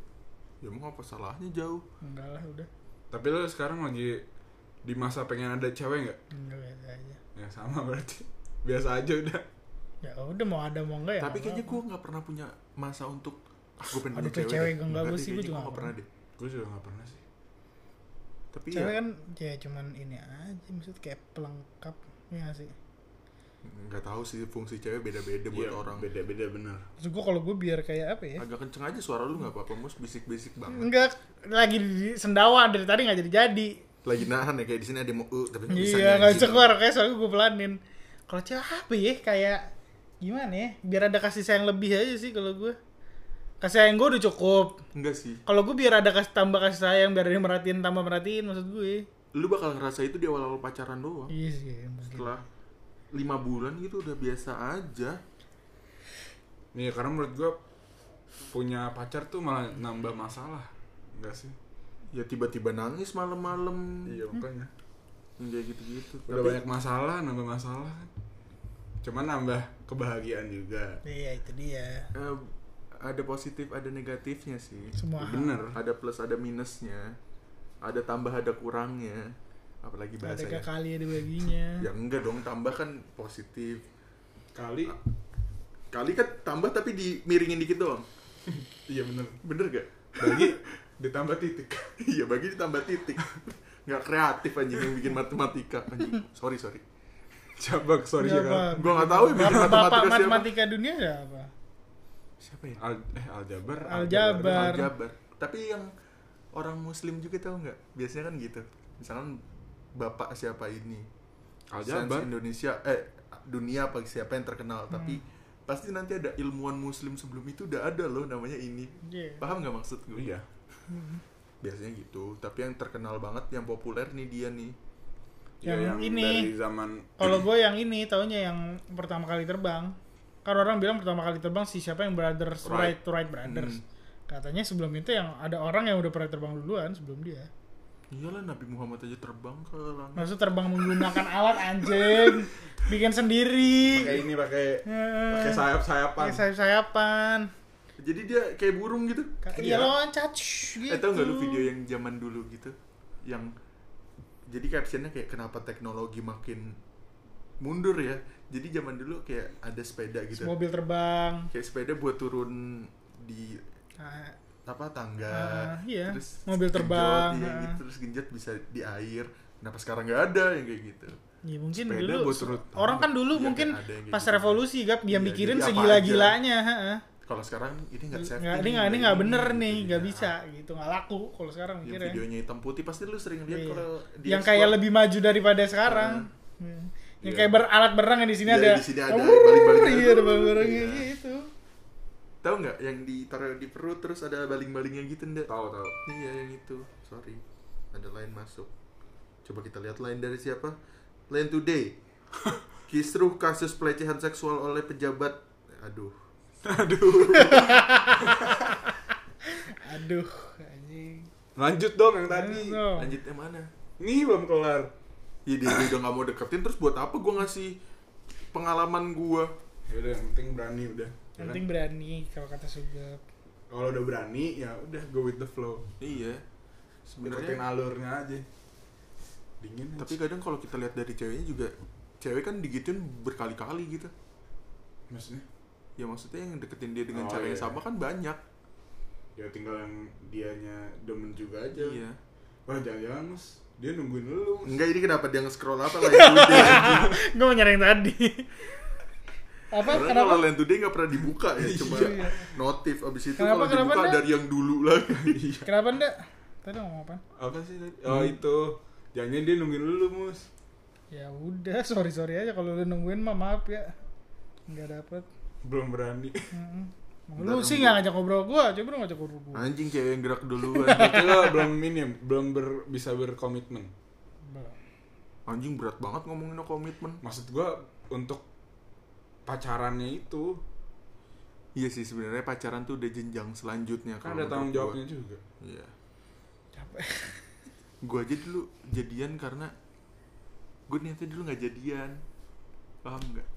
A: ya emang apa salahnya jauh
B: Enggak lah, udah.
C: Tapi lo sekarang lagi di masa pengen ada cewek nggak?
B: Enggak biasa aja.
C: Ya sama berarti. Biasa aja udah.
B: Ya udah mau ada mau enggak ya.
A: tapi kayaknya
B: gua
A: gue nggak pernah punya masa untuk ah, gue pengen
B: Aduh,
A: punya cewek,
B: kayak cewek,
A: deh.
B: enggak, gua
A: deh,
B: sih, gua
A: kayaknya
B: juga
A: gua
B: nggak
A: nggak pernah
B: pernah.
A: deh
C: Gue juga nggak pernah sih.
A: tapi ya
B: cewek kan ya cuman ini aja maksud kayak pelengkap ya nggak sih.
A: nggak tahu sih fungsi cewek beda-beda buat
C: Iya,
A: orang
C: beda-beda bener.
B: Terus gua kalau gua biar kayak apa ya?
A: agak kenceng aja suara lu nggak apa-apa mus bisik-bisik banget
B: Enggak lagi di sendawa dari tadi nggak jadi-jadi.
A: lagi nahan ya kayak di sini ada yang mau "Uh," tapi nggak bisa
B: Iya, nggak bisa
A: nyanyi.
B: keluar kayak soalnya gue pelanin. Kalau cewek apa ya kayak gimana ya? Biar ada kasih sayang lebih aja sih kalau gue. Kasih sayang gue udah cukup.
A: enggak sih
B: Kalau gue biar ada kasih tambah kasih sayang, biar ada yang merhatiin tambah merhatiin maksud gue.
A: lu bakal ngerasa itu di awal-awal pacaran doang
B: Iya sih. mungkin.
A: setelah lima bulan gitu udah biasa aja
C: Nih Iya, karena menurut gue punya pacar tuh malah nambah masalah, enggak sih?
A: ya tiba-tiba nangis malam-malam
C: Iya makanya.
A: Yang kayak gitu-gitu
C: Udah
A: Tapi
C: banyak masalah, nambah masalah kan. Cuman nambah kebahagiaan juga.
B: Iya itu dia.
A: eh, ada positif ada negatifnya sih
B: Semua. hal.
C: Bener.
A: ada plus ada minusnya ada tambah ada kurangnya apalagi
B: Ada
A: bahasa
B: tiga
A: ya
B: kali ada baginya.
A: ya enggak dong tambah kan positif
C: Kali.
A: kali kan tambah tapi dimiringin dikit doang
C: Iya bener.
A: bener gak
C: Bagi ditambah *laughs* titik.
A: *laughs* iya bagi ditambah titik nggak kreatif anjing yang bikin matematika anjing sorry sorry
C: Cabak sorry
B: Nggak
C: ya.
B: apa.
A: gua nggak tahu ya bikin
B: Iya, Bapak,
A: matematika
B: bapak
A: siapa
B: matematika dunia ada apa?
A: siapa ya
C: Al eh aljabar.
B: Aljabar. Bar.
A: aljabar tapi yang orang muslim juga tahu nggak biasanya kan gitu misalkan bapak siapa ini
C: Aljabar.
A: Sains Indonesia eh dunia apa siapa yang terkenal tapi pasti nanti ada ilmuwan muslim sebelum itu udah ada loh namanya ini
B: Iya.
A: paham nggak maksud gue
C: Iya.
A: biasanya gitu tapi yang terkenal banget yang populer nih dia nih
C: Iya,
B: Yang ini.
C: dari zaman
B: Kalau gue yang ini taunya yang pertama kali terbang. Karena orang bilang pertama kali terbang si siapa yang Brothers Wright
C: Wright.
B: to Wright Brothers.
A: Hmm.
B: Katanya sebelum itu yang ada orang yang udah pernah terbang duluan sebelum dia.
A: iyalah Nabi Muhammad aja terbang ke langit
B: Maksud terbang menggunakan alat anjing, bikin sendiri.
C: pakai ini pakai
B: Eh,
C: pakai sayap-sayapan.
B: Pakai sayap-sayapan.
A: jadi dia kayak burung gitu
B: Ka- Iya
C: Iya.
B: loncat shh, gitu.
A: eh tau nggak lu video yang zaman dulu gitu yang jadi captionnya kayak kenapa teknologi makin mundur ya jadi zaman dulu kayak ada sepeda gitu
B: Mobil terbang.
A: kayak sepeda buat turun di
B: Ah,
A: apa tangga
B: Ah, iya.
A: terus
B: Mobil
A: genjot,
B: terbang,
A: iya,
B: ah.
A: gitu. terus genjot bisa di air kenapa sekarang nggak ada yang kayak gitu
B: Ya mungkin
A: Sepeda
B: dulu
A: buat turut-
B: orang kan dulu
A: Iya, kan
B: mungkin
A: ada yang kayak
B: pas
A: gitu.
B: revolusi gap dia
A: Iya,
B: mikirin
A: jadi apa
B: segila-gilanya, heeh.
A: kalau sekarang ini nggak safety
B: Nggak, ini nggak ini nggak bener nih,
A: gitu.
B: nggak
A: Nah,
B: bisa gitu, nggak laku kalau sekarang
A: yang
B: mikirnya.
A: videonya hitam putih pasti lu sering lihat
B: Iya.
A: kalau di
B: Yang
A: explore.
B: kayak lebih maju daripada sekarang. Hmm. Yang
C: Iya.
B: kayak beralat berang yang di sini
A: Iya,
B: ada.
A: di sini ada
B: Wuuur,
A: baling-balingnya.
B: Iya, ada baling-balingnya
A: Iya.
B: gitu.
A: tahu nggak yang ditaruh di perut terus ada baling-balingnya gitu ndak
C: Tahu tahu. *laughs*
A: iya yang itu sorry ada lain masuk coba kita lihat lain dari siapa lain
C: *laughs*
A: today kisruh kasus pelecehan seksual oleh pejabat aduh
B: Aduh, anjing.
C: Lanjut dong yang tadi.
B: Aduh, dong.
A: lanjutnya mana
C: Nih belum kelar.
A: Ya dia udah gak mau deketin terus buat apa gue ngasih pengalaman gue
C: Ya udah yang penting berani udah. Ya kan?
B: Penting berani kalau kata Sugep. *laughs*
C: Kalau udah berani ya udah go with the flow.
A: Iya
C: Ikutin
A: sebenarnya
C: alurnya aja. Dingin.
A: Tapi kadang kalau kita lihat dari ceweknya juga Cewek kan digituin berkali-kali gitu
C: maksudnya
A: ya maksudnya yang deketin dia dengan
C: Oh,
A: cara yang
C: iya.
A: sama kan banyak
C: ya tinggal yang dianya demen juga aja
A: iya
C: wah jangan-jangan mas dia nungguin lu mas.
A: enggak ini kenapa dia nge-scroll apa lain
C: *laughs*
A: today anjing?
B: gue mau nyari
A: *laughs*
B: yang tadi apa
A: karena
B: kenapa
A: kalau lain today nggak pernah dibuka ya cuma
B: Iya.
A: notif abis itu
B: Kenapa-
A: kalau
B: kenapa
A: dibuka
B: dah?
A: dari yang dulu lagi *laughs*
B: kenapa ndak tadi ngomong apa
C: apa sih tadi
A: Hmm.
C: oh itu jangan dia nungguin lu mus
B: ya udah *laughs* sorry sorry aja kalau lu nungguin mah maaf ya nggak dapet
C: belum
A: *laughs*
C: berani
B: Mm-mm.
A: Bentar,
B: lu sih nggak ngajak ngobrol gua coba lu ngajak ngobrol gua
A: anjing cewek yang gerak duluan
C: Berarti lo belum minim belum ber- bisa berkomitmen
B: Belum.
A: anjing berat banget ngomongin no komitmen
C: maksud gua untuk pacarannya itu
A: iya sih sebenarnya pacaran tuh udah jenjang selanjutnya
C: kan
A: kalau
C: ada
A: menurut
C: tanggung
A: gua.
C: jawabnya juga
A: iya
B: capek *laughs*
A: gue aja dulu jadian karena gue niatnya dulu nggak jadian paham nggak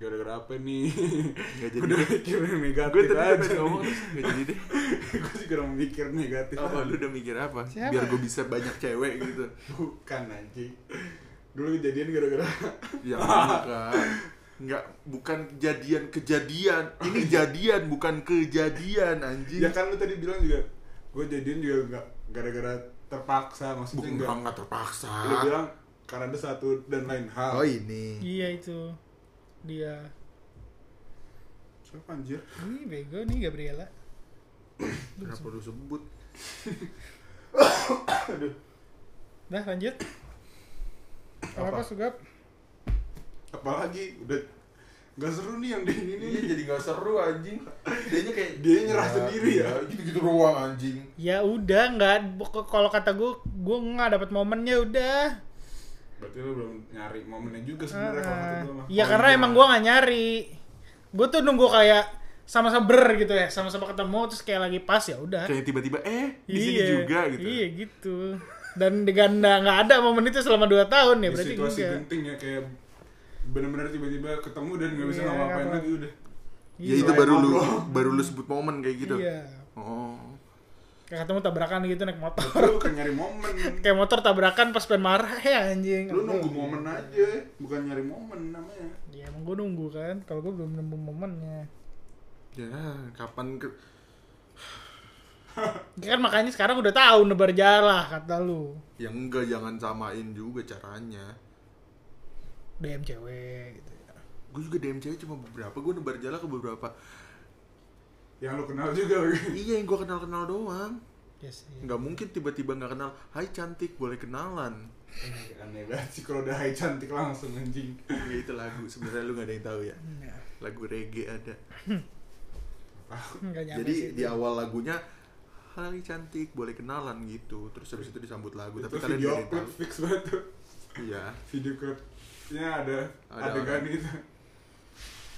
C: gara-gara apa nih *laughs*
A: nggak
C: udah
A: jadian
C: mikirin
A: gue
C: negatif
A: tadi
C: aja
A: pengen ngomong terus nggak jadi deh
C: *laughs* gue juga mau mikir negatif
A: apa
C: aja.
A: lu udah mikir apa
B: Siapa? ya?
A: biar gue bisa banyak cewek gitu
C: bukan anjing dulu kejadian
A: *laughs*
C: gara-gara
A: ya bukan nggak bukan jadian kejadian ini jadian bukan kejadian anjing
C: ya kan lu tadi bilang juga gue jadian juga nggak gara-gara terpaksa maksudnya
A: bukan
C: enggak
A: nggak terpaksa
C: lu bilang karena ada satu dan lain hal
A: oh ini
B: iya itu dia
C: siapa anjir
B: ini bego nih Gabriela
A: kenapa lu sebut
B: dah lanjut apa,
C: Apa?
B: sugap
C: apalagi udah nggak seru nih yang di ini nih
A: jadi nggak seru anjing dia kayak
C: dia nyerah sendiri ya
A: gitu gitu ruang anjing
B: ya udah nggak pokok- kalau kata gua gua nggak dapet momennya udah
C: berarti lu belum nyari momennya juga sebenarnya kalau kata gua mah
B: Iya karena emang gue gak nyari. Gue tuh nunggu kayak sama-sama ber gitu ya, sama-sama ketemu terus kayak lagi pas ya udah.
A: kayak tiba-tiba eh di sini
B: Iya,
A: juga gitu
B: Iya gitu. Dan diganda nggak ada momen itu selama 2 tahun ya
C: Di
B: berarti
C: situasi
B: enggak.
C: genting ya kayak bener-bener tiba-tiba ketemu dan nggak bisa
B: Iya,
C: ngapa-ngapain
B: ngapa-
C: lagi udah
A: ya
B: Iya.
A: itu baru lu
C: Ngobrol.
A: baru lu sebut momen kayak gitu
B: Iya.
A: oh
B: Kayak ketemu tabrakan gitu naik motor.
C: lu kan nyari momen
B: kayak motor tabrakan pas pengen marah *laughs* ya anjing.
C: lu nunggu momen aja bukan nyari momen namanya
B: Ya emang gue nunggu kan, kalau gue belum nemu momennya.
A: ya kapan ke
B: Ya kan makanya sekarang udah tahu nebar jalah kata lu.
A: ya enggak jangan samain juga caranya
B: DM cewek gitu.
A: gue juga DM cewek cuma beberapa gue nebar jala ke beberapa
C: yang lu kenal juga
A: iya yang gue kenal kenal doang
B: Ya sih.
A: nggak mungkin tiba-tiba nggak kenal hai cantik boleh kenalan
C: *laughs* aneh banget sih kalau udah hai cantik langsung anjing
A: ya itu lagu sebenarnya lu nggak ada yang tahu
C: Hmm.
A: ya
B: Nah,
A: lagu reggae ada
B: nggak nyampe
A: jadi
B: sih.
A: di awal lagunya hai cantik boleh kenalan gitu terus habis itu disambut lagu tapi
C: itu
A: kalian
C: video
A: nggak ada yang
C: klip
A: tahu
C: fix banget tuh
A: iya
C: video klipnya ada,
A: Ada
C: adegan
A: orang.
C: gitu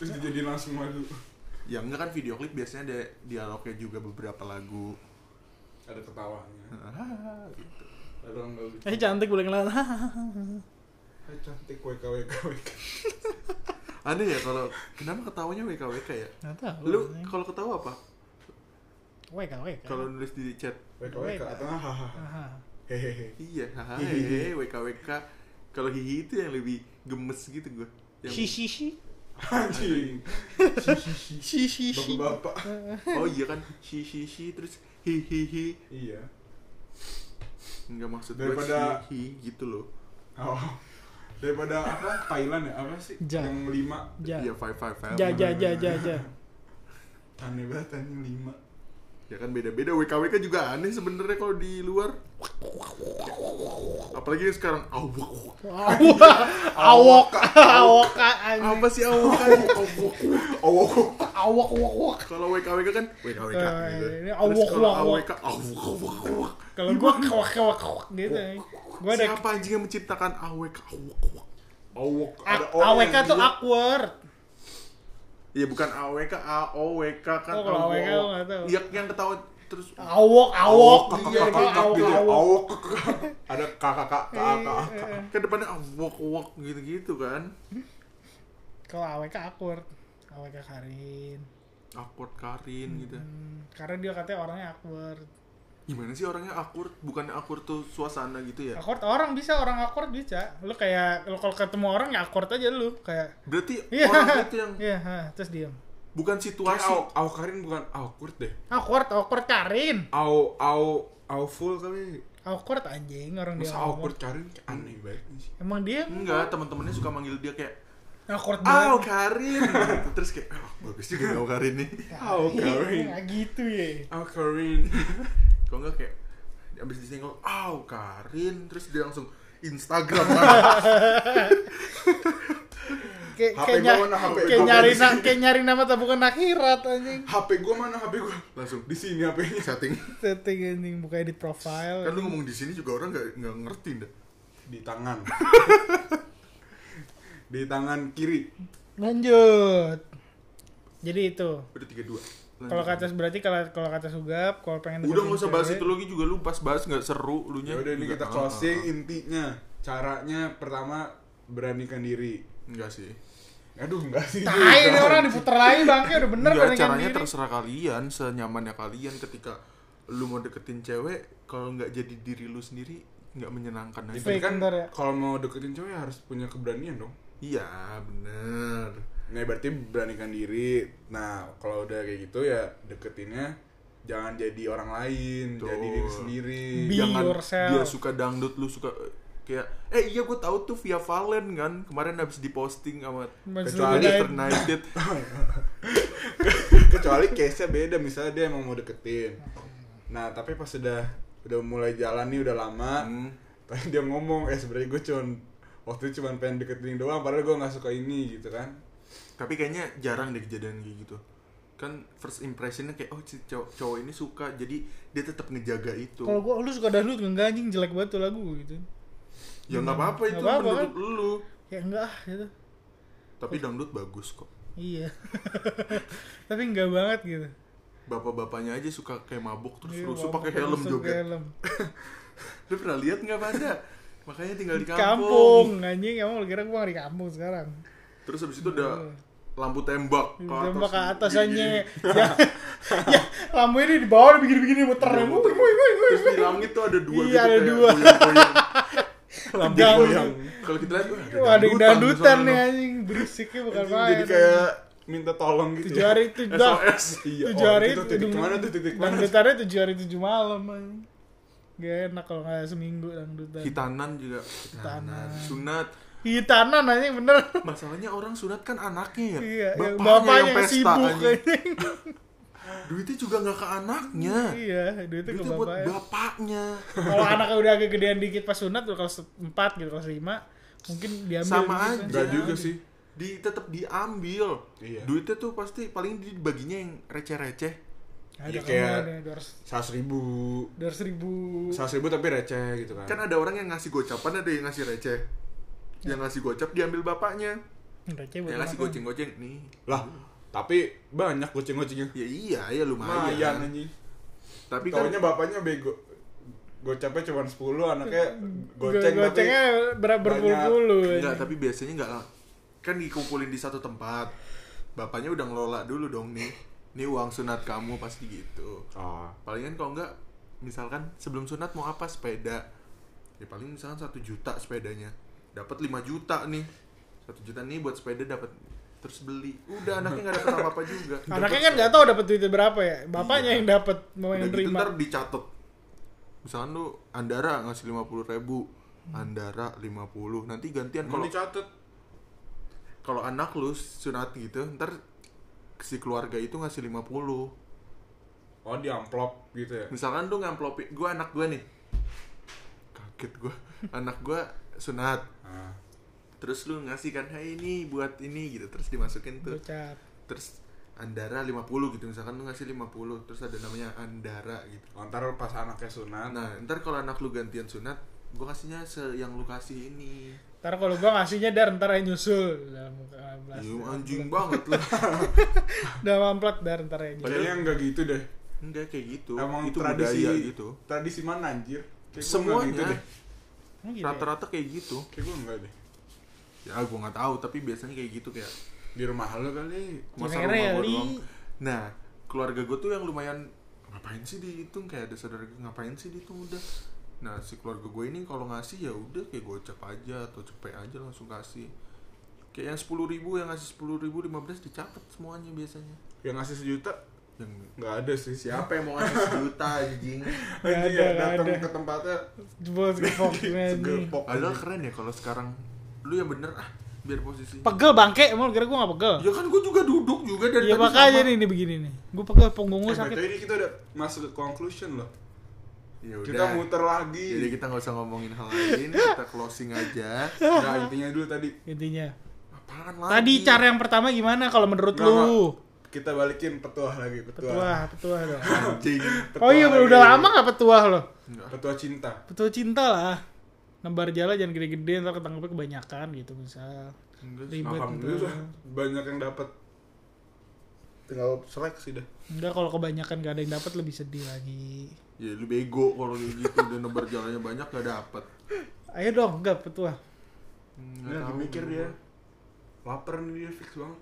C: terus dijadiin langsung madu
A: ya enggak kan video klip biasanya ada dialognya juga beberapa lagu
C: ada ketawanya
A: gitu.
C: ada orang nggak lucu
B: Eh cantik boleh *laughs* kenalan.
C: hai cantik wk wk wk
A: aneh ya kalau kenapa ketawanya WKWK ya
B: Nggak tahu.
A: lu kalau ketawa apa
B: weka weka.
A: kalau nulis di chat
C: wk wk atau nggak hahaha
B: Aha.
C: hehehe
A: iya hehehe WKWK kalau hihi itu yang lebih gemes gitu gue yang
B: Si si si.
C: anjing
B: Si si si.
C: bapak-bapak
A: oh iya kan si si si terus hihihi
C: iya
A: nggak maksud gue
C: Daripada-
A: hihi gitu loh
C: oh daripada apa Thailand ya apa sih
B: Ja.
C: yang lima
B: Ja.
A: iya five five five
B: Ya. Ja ja ja ja
C: *laughs*
B: ja.
C: aneh banget anjing lima
A: ya kan beda beda WKWK juga aneh sebenarnya kalau di luar apalagi yang sekarang awok
B: Awok *laughs* awok awok anjing.
A: apa sih awok
B: *laughs*
A: awok
C: Ah,
B: Awok awok awok.
A: kalau WKWK kan WKWK
B: Eh,
A: gitu.
B: ini
A: Terus
B: awok,
A: kalau
B: awok,
A: AWK awok awok awok
B: Kalau gua kawak kawak kawak gitu. Gua ada
A: siapa anjing yang menciptakan awek awok awok
C: awok ada
B: A-
C: orang
B: AWK
C: yang
B: tuh
C: bilang-
B: awkward.
A: Iya bukan AWK, AOWK kan.
B: Oh, kalau
A: AWO.
B: AWK gua nggak tahu.
A: Iya yang ketawa terus
B: Awok awok. Iya,
C: kakak,
B: gua
C: kakak
B: awok Iya,
C: gitu ya.
B: awok.
C: awok *laughs* kakak. ada kakak kakak kakak kakak.
A: ke depannya awok awok gitu-gitu kan.
B: Kalau AWK awkward. AWK Karin.
A: Awkward Karin gitu.
B: Hmm, karena dia katanya orangnya awkward.
A: gimana sih orangnya akur bukannya akur tuh suasana gitu ya
B: Akord orang bisa, orang akord bisa. Lu kayak lu kalau ketemu orang ya akord aja lu kayak
A: berarti
B: *laughs* Iya.
A: orang itu yang
B: Iya, ha, terus diam.
A: bukan
C: Kayak
A: situasi
C: au, au Karin bukan awkward deh.
B: Awkward, awkward Karin.
C: Au au au full kali.
B: Awkward anjing orang dia.
C: Masa
B: ngomong.
C: awkward Karin kayak aneh banget sih.
B: Emang dia
A: enggak teman-temannya suka manggil dia kayak
B: awkward
A: Au
B: banget. *laughs*
A: Karin Gitu. terus kayak "Ah, bagus juga nih Au Karin nih
B: Iya,
C: Au Karin.
B: Nggak gitu ya.
C: Au
B: *laughs*
C: Karin.
A: kalau enggak kayak abis disenggol Au Karin terus dia langsung Instagram
B: *laughs*
A: kan?
B: Kayak
C: HP
B: kayak
C: gua
B: nyar-
C: mana, HP
B: kayak
C: gua
B: nyari
C: mana
B: na- kayak nyari nama tabungan akhirat anjing.
C: HP gua mana HP gua?
A: langsung
C: Di sini HP-nya.
A: setting
B: Setting anjing buka edit profile.
A: kan lu ngomong di sini juga orang nggak nggak ngerti dah
C: Di tangan. Di tangan kiri.
B: Lanjut. Jadi itu.
A: udah tiga dua
B: Kalau kata berarti kalau kalau kata sugap, kalau pengen
A: udah
B: deketin
A: nggak usah bahas
B: cewek,
A: itu lagi juga lu pas bahas nggak seru lu
B: Hmm.
A: nya Ah,
C: Ya udah ini kita closing
B: ah,
C: intinya. Caranya pertama beranikan diri.
A: enggak sih
C: Aduh enggak sih.
B: Tai ini orang diputer lagi bangke udah bener
A: Nggak,
B: kan
A: caranya
B: gini.
A: terserah kalian senyamannya kalian ketika lu mau deketin cewek kalau nggak jadi diri lu sendiri nggak menyenangkan aja.
C: Itu
B: Fake
C: kan
B: ntar ya.
C: kalau mau deketin cewek harus punya keberanian dong.
A: iya bener
C: Nah berarti beranikan diri. Nah kalau udah kayak gitu ya deketinnya jangan jadi orang lain,
A: Betul.
C: jadi diri sendiri.
B: Be
A: jangan
B: yourself.
A: dia suka dangdut lu suka eh, kayak eh iya gue tahu tuh via Valen kan kemarin habis diposting sama
B: Mas
A: kecuali
B: Rudaid.
A: United
C: Kecuali case-nya beda misalnya dia emang mau deketin. Nah tapi pas udah udah mulai jalan nih udah lama,
A: Hmm.
C: tapi dia ngomong eh sebenarnya gue cuman waktu itu cuman pengen deketin doang padahal gue nggak suka ini gitu kan.
A: tapi kayaknya jarang deh kejadian kayak gitu kan first impressionnya kayak oh si cowok, cowok ini suka jadi dia tetap ngejaga itu
B: Kalau gua lu suka dangdut enggak anjing jelek banget tuh lagu gitu.
A: ya nggak apa-apa
B: Hmm, Nggak
A: itu
B: apa-apa
A: menurut lu
B: Ya enggak ah gitu.
A: tapi dangdut bagus kok
B: Iya. *laughs* Tapi enggak banget gitu.
A: bapak-bapaknya aja suka kayak mabuk terus
B: Iya,
A: rusuh
B: bawa-
A: pakai helm
B: rusuh pakai
A: joget
B: helm.
A: lu pernah lihat nggak pada makanya tinggal di
B: Di
A: kampung.
B: kampung, anjing emang lu kira gua di kampung sekarang.
A: terus habis itu udah lampu tembak ke atas,
B: Iya.
A: Iya,
B: Tembak ke atas
A: Gini-gini.
B: anjing. *laughs* Ya, ya lampu ini di bawah begini-begini muter.
A: Udah
B: Wuih,
A: muter.
B: wuih, wuih, wuih.
A: iya. terus di langit tuh ada dua
B: Iya,
A: gitu
B: ada
A: kayak
B: dua.
A: goyang-goyang.
C: Lampu
B: Jangan.
A: ya.
C: goyang.
A: kalau kita lihat
B: Wah, ada yang dangdutan
A: di
B: nih
A: sana.
B: anjing, berisiknya bukan
C: Jadi,
B: main.
C: jadi kayak minta tolong gitu.
B: tujuh
C: ya.
B: hari itu dah.
A: SOS
C: Iya.
B: tujuh
C: oh,
B: hari
C: itu titik
B: dang-
C: mana tuh titik mana?
B: dangdutannya tujuh hari tujuh malam anjing. Gak enak kalau nggak seminggu dangdutan.
A: hitanan juga
B: Hitanan.
A: sunat
B: Hitanan anjing bener.
A: masalahnya orang sunat kan anaknya ya
B: Iya, ya,
A: bapaknya,
B: bapaknya
A: yang
B: yang
A: pesta
B: sibuk
A: anjing.
B: anjing.
A: duitnya juga nggak ke anaknya
B: Iya, duitnya ke
A: duitnya buat
B: bapaknya.
A: bapaknya
B: Kalau anaknya udah agak gedean dikit pas sunat tuh kalau se- empat gitu kalau lima mungkin diambil
A: Sama
B: dikit,
A: aja.
C: Enggak
B: kan.
C: juga sih.
A: di tetap diambil
C: Iya.
A: duitnya tuh pasti paling dibaginya yang receh-receh
B: Ada
C: Ya,
B: kayak
C: kayak- Seratus ribu.
B: dua ratus ribu.
C: Seratus ribu tapi receh gitu kan.
A: kan ada orang yang ngasih gocapan ada yang ngasih receh yang
B: Iya.
A: ngasih gocap diambil bapaknya
B: Receh buat
A: yang ngasih
B: makan.
A: goceng-goceng nih
C: Lah, tapi banyak goceng-gocengnya.
A: ya iya ya lumayan
C: Mayan anjing.
A: tapi kan
C: Taunya bapaknya bego. Gocapnya cuma 10, anaknya goceng
B: Go-
C: tapi
B: gocengnya ber- berpuluh-puluh.
A: Enggak,
B: anjing.
A: tapi biasanya enggak lah. Kan dikumpulin di satu tempat. Bapaknya udah ngelola dulu dong nih. Ini uang sunat kamu pasti gitu.
C: Oh,
A: Palingan kalau enggak misalkan sebelum sunat mau apa sepeda. Ya paling misalkan satu juta sepedanya. Dapat 5 juta nih. Satu juta nih buat sepeda dapat terus beli. Udah anaknya enggak dapat apa-apa juga.
B: *laughs* Anaknya kan nggak tahu dapat duitnya berapa ya. Bapaknya
A: Iya.
B: yang dapat, mau
A: Udah
B: yang
A: gitu
B: terima.
A: ntar dicatat. Misalkan lu Andara ngasih 50 ribu Andara 50 Nanti gantian kalau
C: kalau Kan dicatat
A: kalau anak lu sunat gitu ntar si keluarga itu ngasih 50
C: oh di amplop gitu ya.
A: misalkan lu ngamplopi gue anak gue nih kaget
C: *laughs*
A: gue anak gue sunat
C: Ah.
A: terus lu ngasih kan hey ini buat ini gitu terus dimasukin tuh
B: Gocap.
A: terus Andara 50 gitu misalkan lu ngasih 50 terus ada namanya Andara gitu
C: Oh, ntar pas anaknya sunat.
A: nah ntar kalau anak lu gantian sunat gue kasihnya se yang lu kasih ini
B: Ntar kalau gua ngasihnya dar, ntar aja nyusul. Dalam muka belas.
A: Iya, anjing banget
C: *laughs*
A: lah
B: Udah mamplat dar, ntar aja nyusul.
C: Kayaknya enggak gitu deh.
A: enggak kayak gitu
C: Emang
A: itu
C: tradisi
A: budaya gitu
C: Tradisi mana anjir? Kayak gua enggak gitu
A: semuanya
C: deh.
B: Emang
C: Iya.
B: gitu ya?
A: rata-rata kayak gitu
C: Kayak gue enggak deh.
A: ya gue nggak tahu tapi biasanya kayak gitu kayak
C: Di rumah lo kali.
A: masa
B: Gimana
A: rumah
B: ya,
A: gue
B: Li?
A: doang nah keluarga gue tuh yang lumayan ngapain sih dihitung kayak ada saudara gue ngapain sih dihitung udah nah si keluarga gue ini kalau ngasih ya udah kayak gocap aja atau cepet aja langsung kasih kayak yang sepuluh ribu yang ngasih sepuluh ribu lima belas dicatat semuanya biasanya
C: Yang ngasih sejuta
A: yang
C: nggak ada sih
A: *laughs*
C: siapa.
A: siapa yang mau ngasih sejuta anjing
B: Nggak ada,
C: Anjing yang
B: nggak
C: datang
B: ada.
C: ke tempatnya
B: Jebol
A: *laughs*
B: segepok gimana nih.
C: segepok.
A: padahal keren ya kalau sekarang lu yang bener ah biar posisi
B: Pegel bangke, emang lu kira gue gak pegel?
A: ya kan gue juga duduk juga dari
B: Ya
A: tadi
B: makanya
A: sama.
B: nih, nih begini nih Gue pegel punggung gue
C: Eh,
B: sakit
C: BTW ini kita udah masuk ke conclusion loh.
A: ya udah
C: Kita muter
A: jadi
C: lagi.
A: kita nggak usah ngomongin hal lain kita closing aja
C: Nah, intinya dulu tadi.
B: Intinya
A: apaan lagi
B: Tadi cara yang pertama gimana kalau menurut
C: Nggak,
B: lu?
C: nggak. Kita balikin petuah lagi, petuah.
B: Petuah, petuah
A: *laughs*
B: dong
A: anjing
B: Oh iya,
C: lagi.
B: udah lama gak petuah lo?
A: Enggak.
C: Petuah cinta.
B: Petuah cinta lah Nebar jala jangan gede-gede, ntar ketangkepnya kebanyakan gitu misal
A: Enggak.
B: Ribet gitu
C: Alhamdulillah banyak yang dapat. Tinggal seleksi dah.
B: Enggak kalau kebanyakan gak ada yang dapat lebih sedih lagi
A: ya lu bego kalau kayak gitu dan nebar jalannya banyak gak dapet
B: Ayo dong, enggak petuah
A: nggak
C: Dia lagi
A: tahu
C: mikir
A: gua.
C: dia. Lapar nih dia fix
B: *laughs*
C: banget.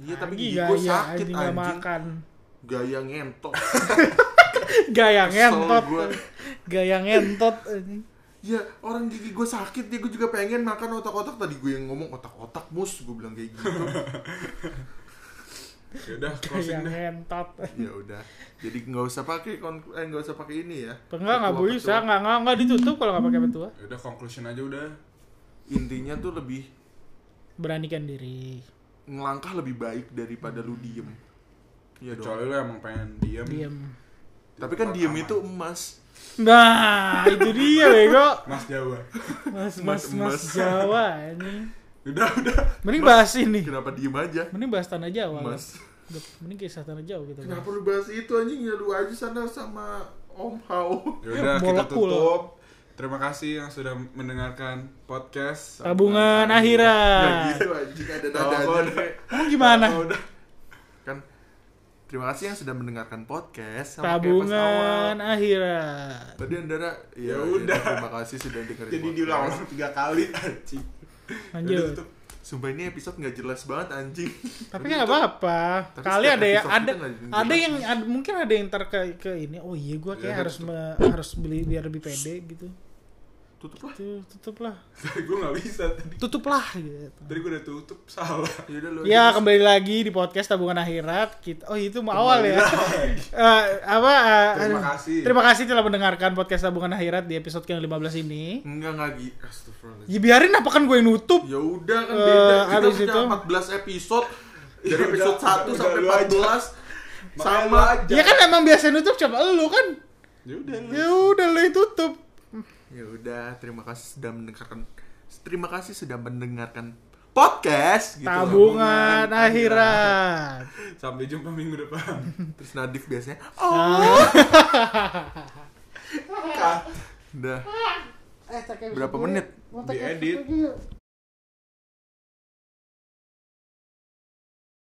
A: iya tapi
B: Lagi
A: gigi
B: gaya,
A: gue sakit
B: anjing nggak
A: anjing
B: makan *laughs*
A: gaya ngentot
B: Gaya
A: Kesel
B: *laughs* ngentot
A: gua.
B: Gaya ngentot anjing.
A: ya orang gigi gue sakit ya gue juga pengen makan otak-otak tadi gue yang ngomong otak-otak mus gue bilang kayak
B: *laughs*
A: gitu
C: Ya udah
B: Gaya
C: closing dah.
B: ngentot
A: ya udah jadi nggak usah pakai kon eh, nggak usah pakai ini ya
B: Enggak, enggak
A: Ketua-ketua.
B: bisa. Enggak, enggak, enggak ditutup kalau enggak pakai petua.
C: Ya udah conclusion aja udah.
A: intinya tuh lebih
B: Beranikan diri.
A: ngelangkah lebih baik daripada lu diem iya dong
C: Kecuali lu emang pengen diam.
B: Diam.
A: tapi kan diem itu emas
B: Nah, itu dia bego.
C: Mas Jawa.
B: Mas mas
A: Mas-
B: mas
A: mas.
B: Jawa ini.
C: *laughs* Udah udah.
B: Mending bahas ini.
A: kenapa diem aja
B: Mending bahas tanah Jawa. lah.
A: emas
B: Udah, Mending kisah tanah Jawa kita.
A: Kenapa
B: bahas.
A: lu bahas itu anjing ya lu aja sana sama Om Hao.
C: Ya udah kita
B: Bolak pula.
C: tutup. Terima kasih yang sudah mendengarkan podcast.
B: Tabungan akhirat.
A: Gitu anjing ada
C: Tawa
A: dadanya.
C: gua udah.
B: Emang gimana?
C: Tawa udah.
A: Kan terima kasih yang sudah mendengarkan podcast sama kayak pas
B: Tabungan
A: awal.
B: akhirat.
A: Tadi Andara ya,
C: Ya
A: udah
C: udah.
A: terima kasih sudah dengerin.
C: Jadi
A: podcast.
C: diulang-ulang *laughs* tiga kali anjing. Udah
B: Lanjut.
C: tutup.
A: Sumpah ini episode nggak jelas banget anjing.
B: Tapi kan nggak apa-apa.
A: Tapi
B: Kali
A: setiap
B: ada yang
A: episode
B: ada
A: kita nggak jelas.
B: ada yang ada- mungkin ada yang ntar ke, ke ini. Oh iya, gua kayak
C: udah,
B: harus me- harus beli biar lebih pede gitu.
A: Tutup lah.
B: Tuh, tutuplah.
C: *laughs* Tadi gue nggak bisa tadi.
B: Tutuplah gitu.
C: Tadi gue udah tutup salah.
A: Ya udah lu.
B: Ya
A: aja.
B: kembali lagi di podcast tabungan akhirat kita. Oh itu mau awal ya. *laughs*
C: Nah,
B: Eh, apa? eh,
C: Terima
B: aduh.
C: kasih.
B: Terima kasih telah mendengarkan podcast tabungan akhirat di episode ke 15 ini.
A: Enggak enggak gitu. Astagfirullah.
B: Ya biarin apa kan gue yang nutup.
A: Ya udah kan
B: Eh,
A: beda. Kita
B: habis
A: punya
B: itu-
A: 14 episode.
C: Ya
A: Dari
C: udah,
A: episode
C: udah,
A: 1
C: udah,
A: sampai
C: lu
A: 14
C: Makanya
A: sama
C: lu aja.
A: aja.
B: Ya kan emang biasa nutup coba lu kan.
C: *laughs* Ya udah.
B: Ya udah lu yang tutup.
A: Ya udah, terima kasih sudah mendengarkan. Terima kasih sudah mendengarkan podcast gitu.
B: tabungan akhirat.
C: Sampai jumpa minggu depan.
A: Terus Nadif biasanya, oh, udah
B: Eh, tak kayak
A: Berapa
B: bisa gue-
A: menit?
B: Mau tak kayak
C: Diedit.
B: bisa gue-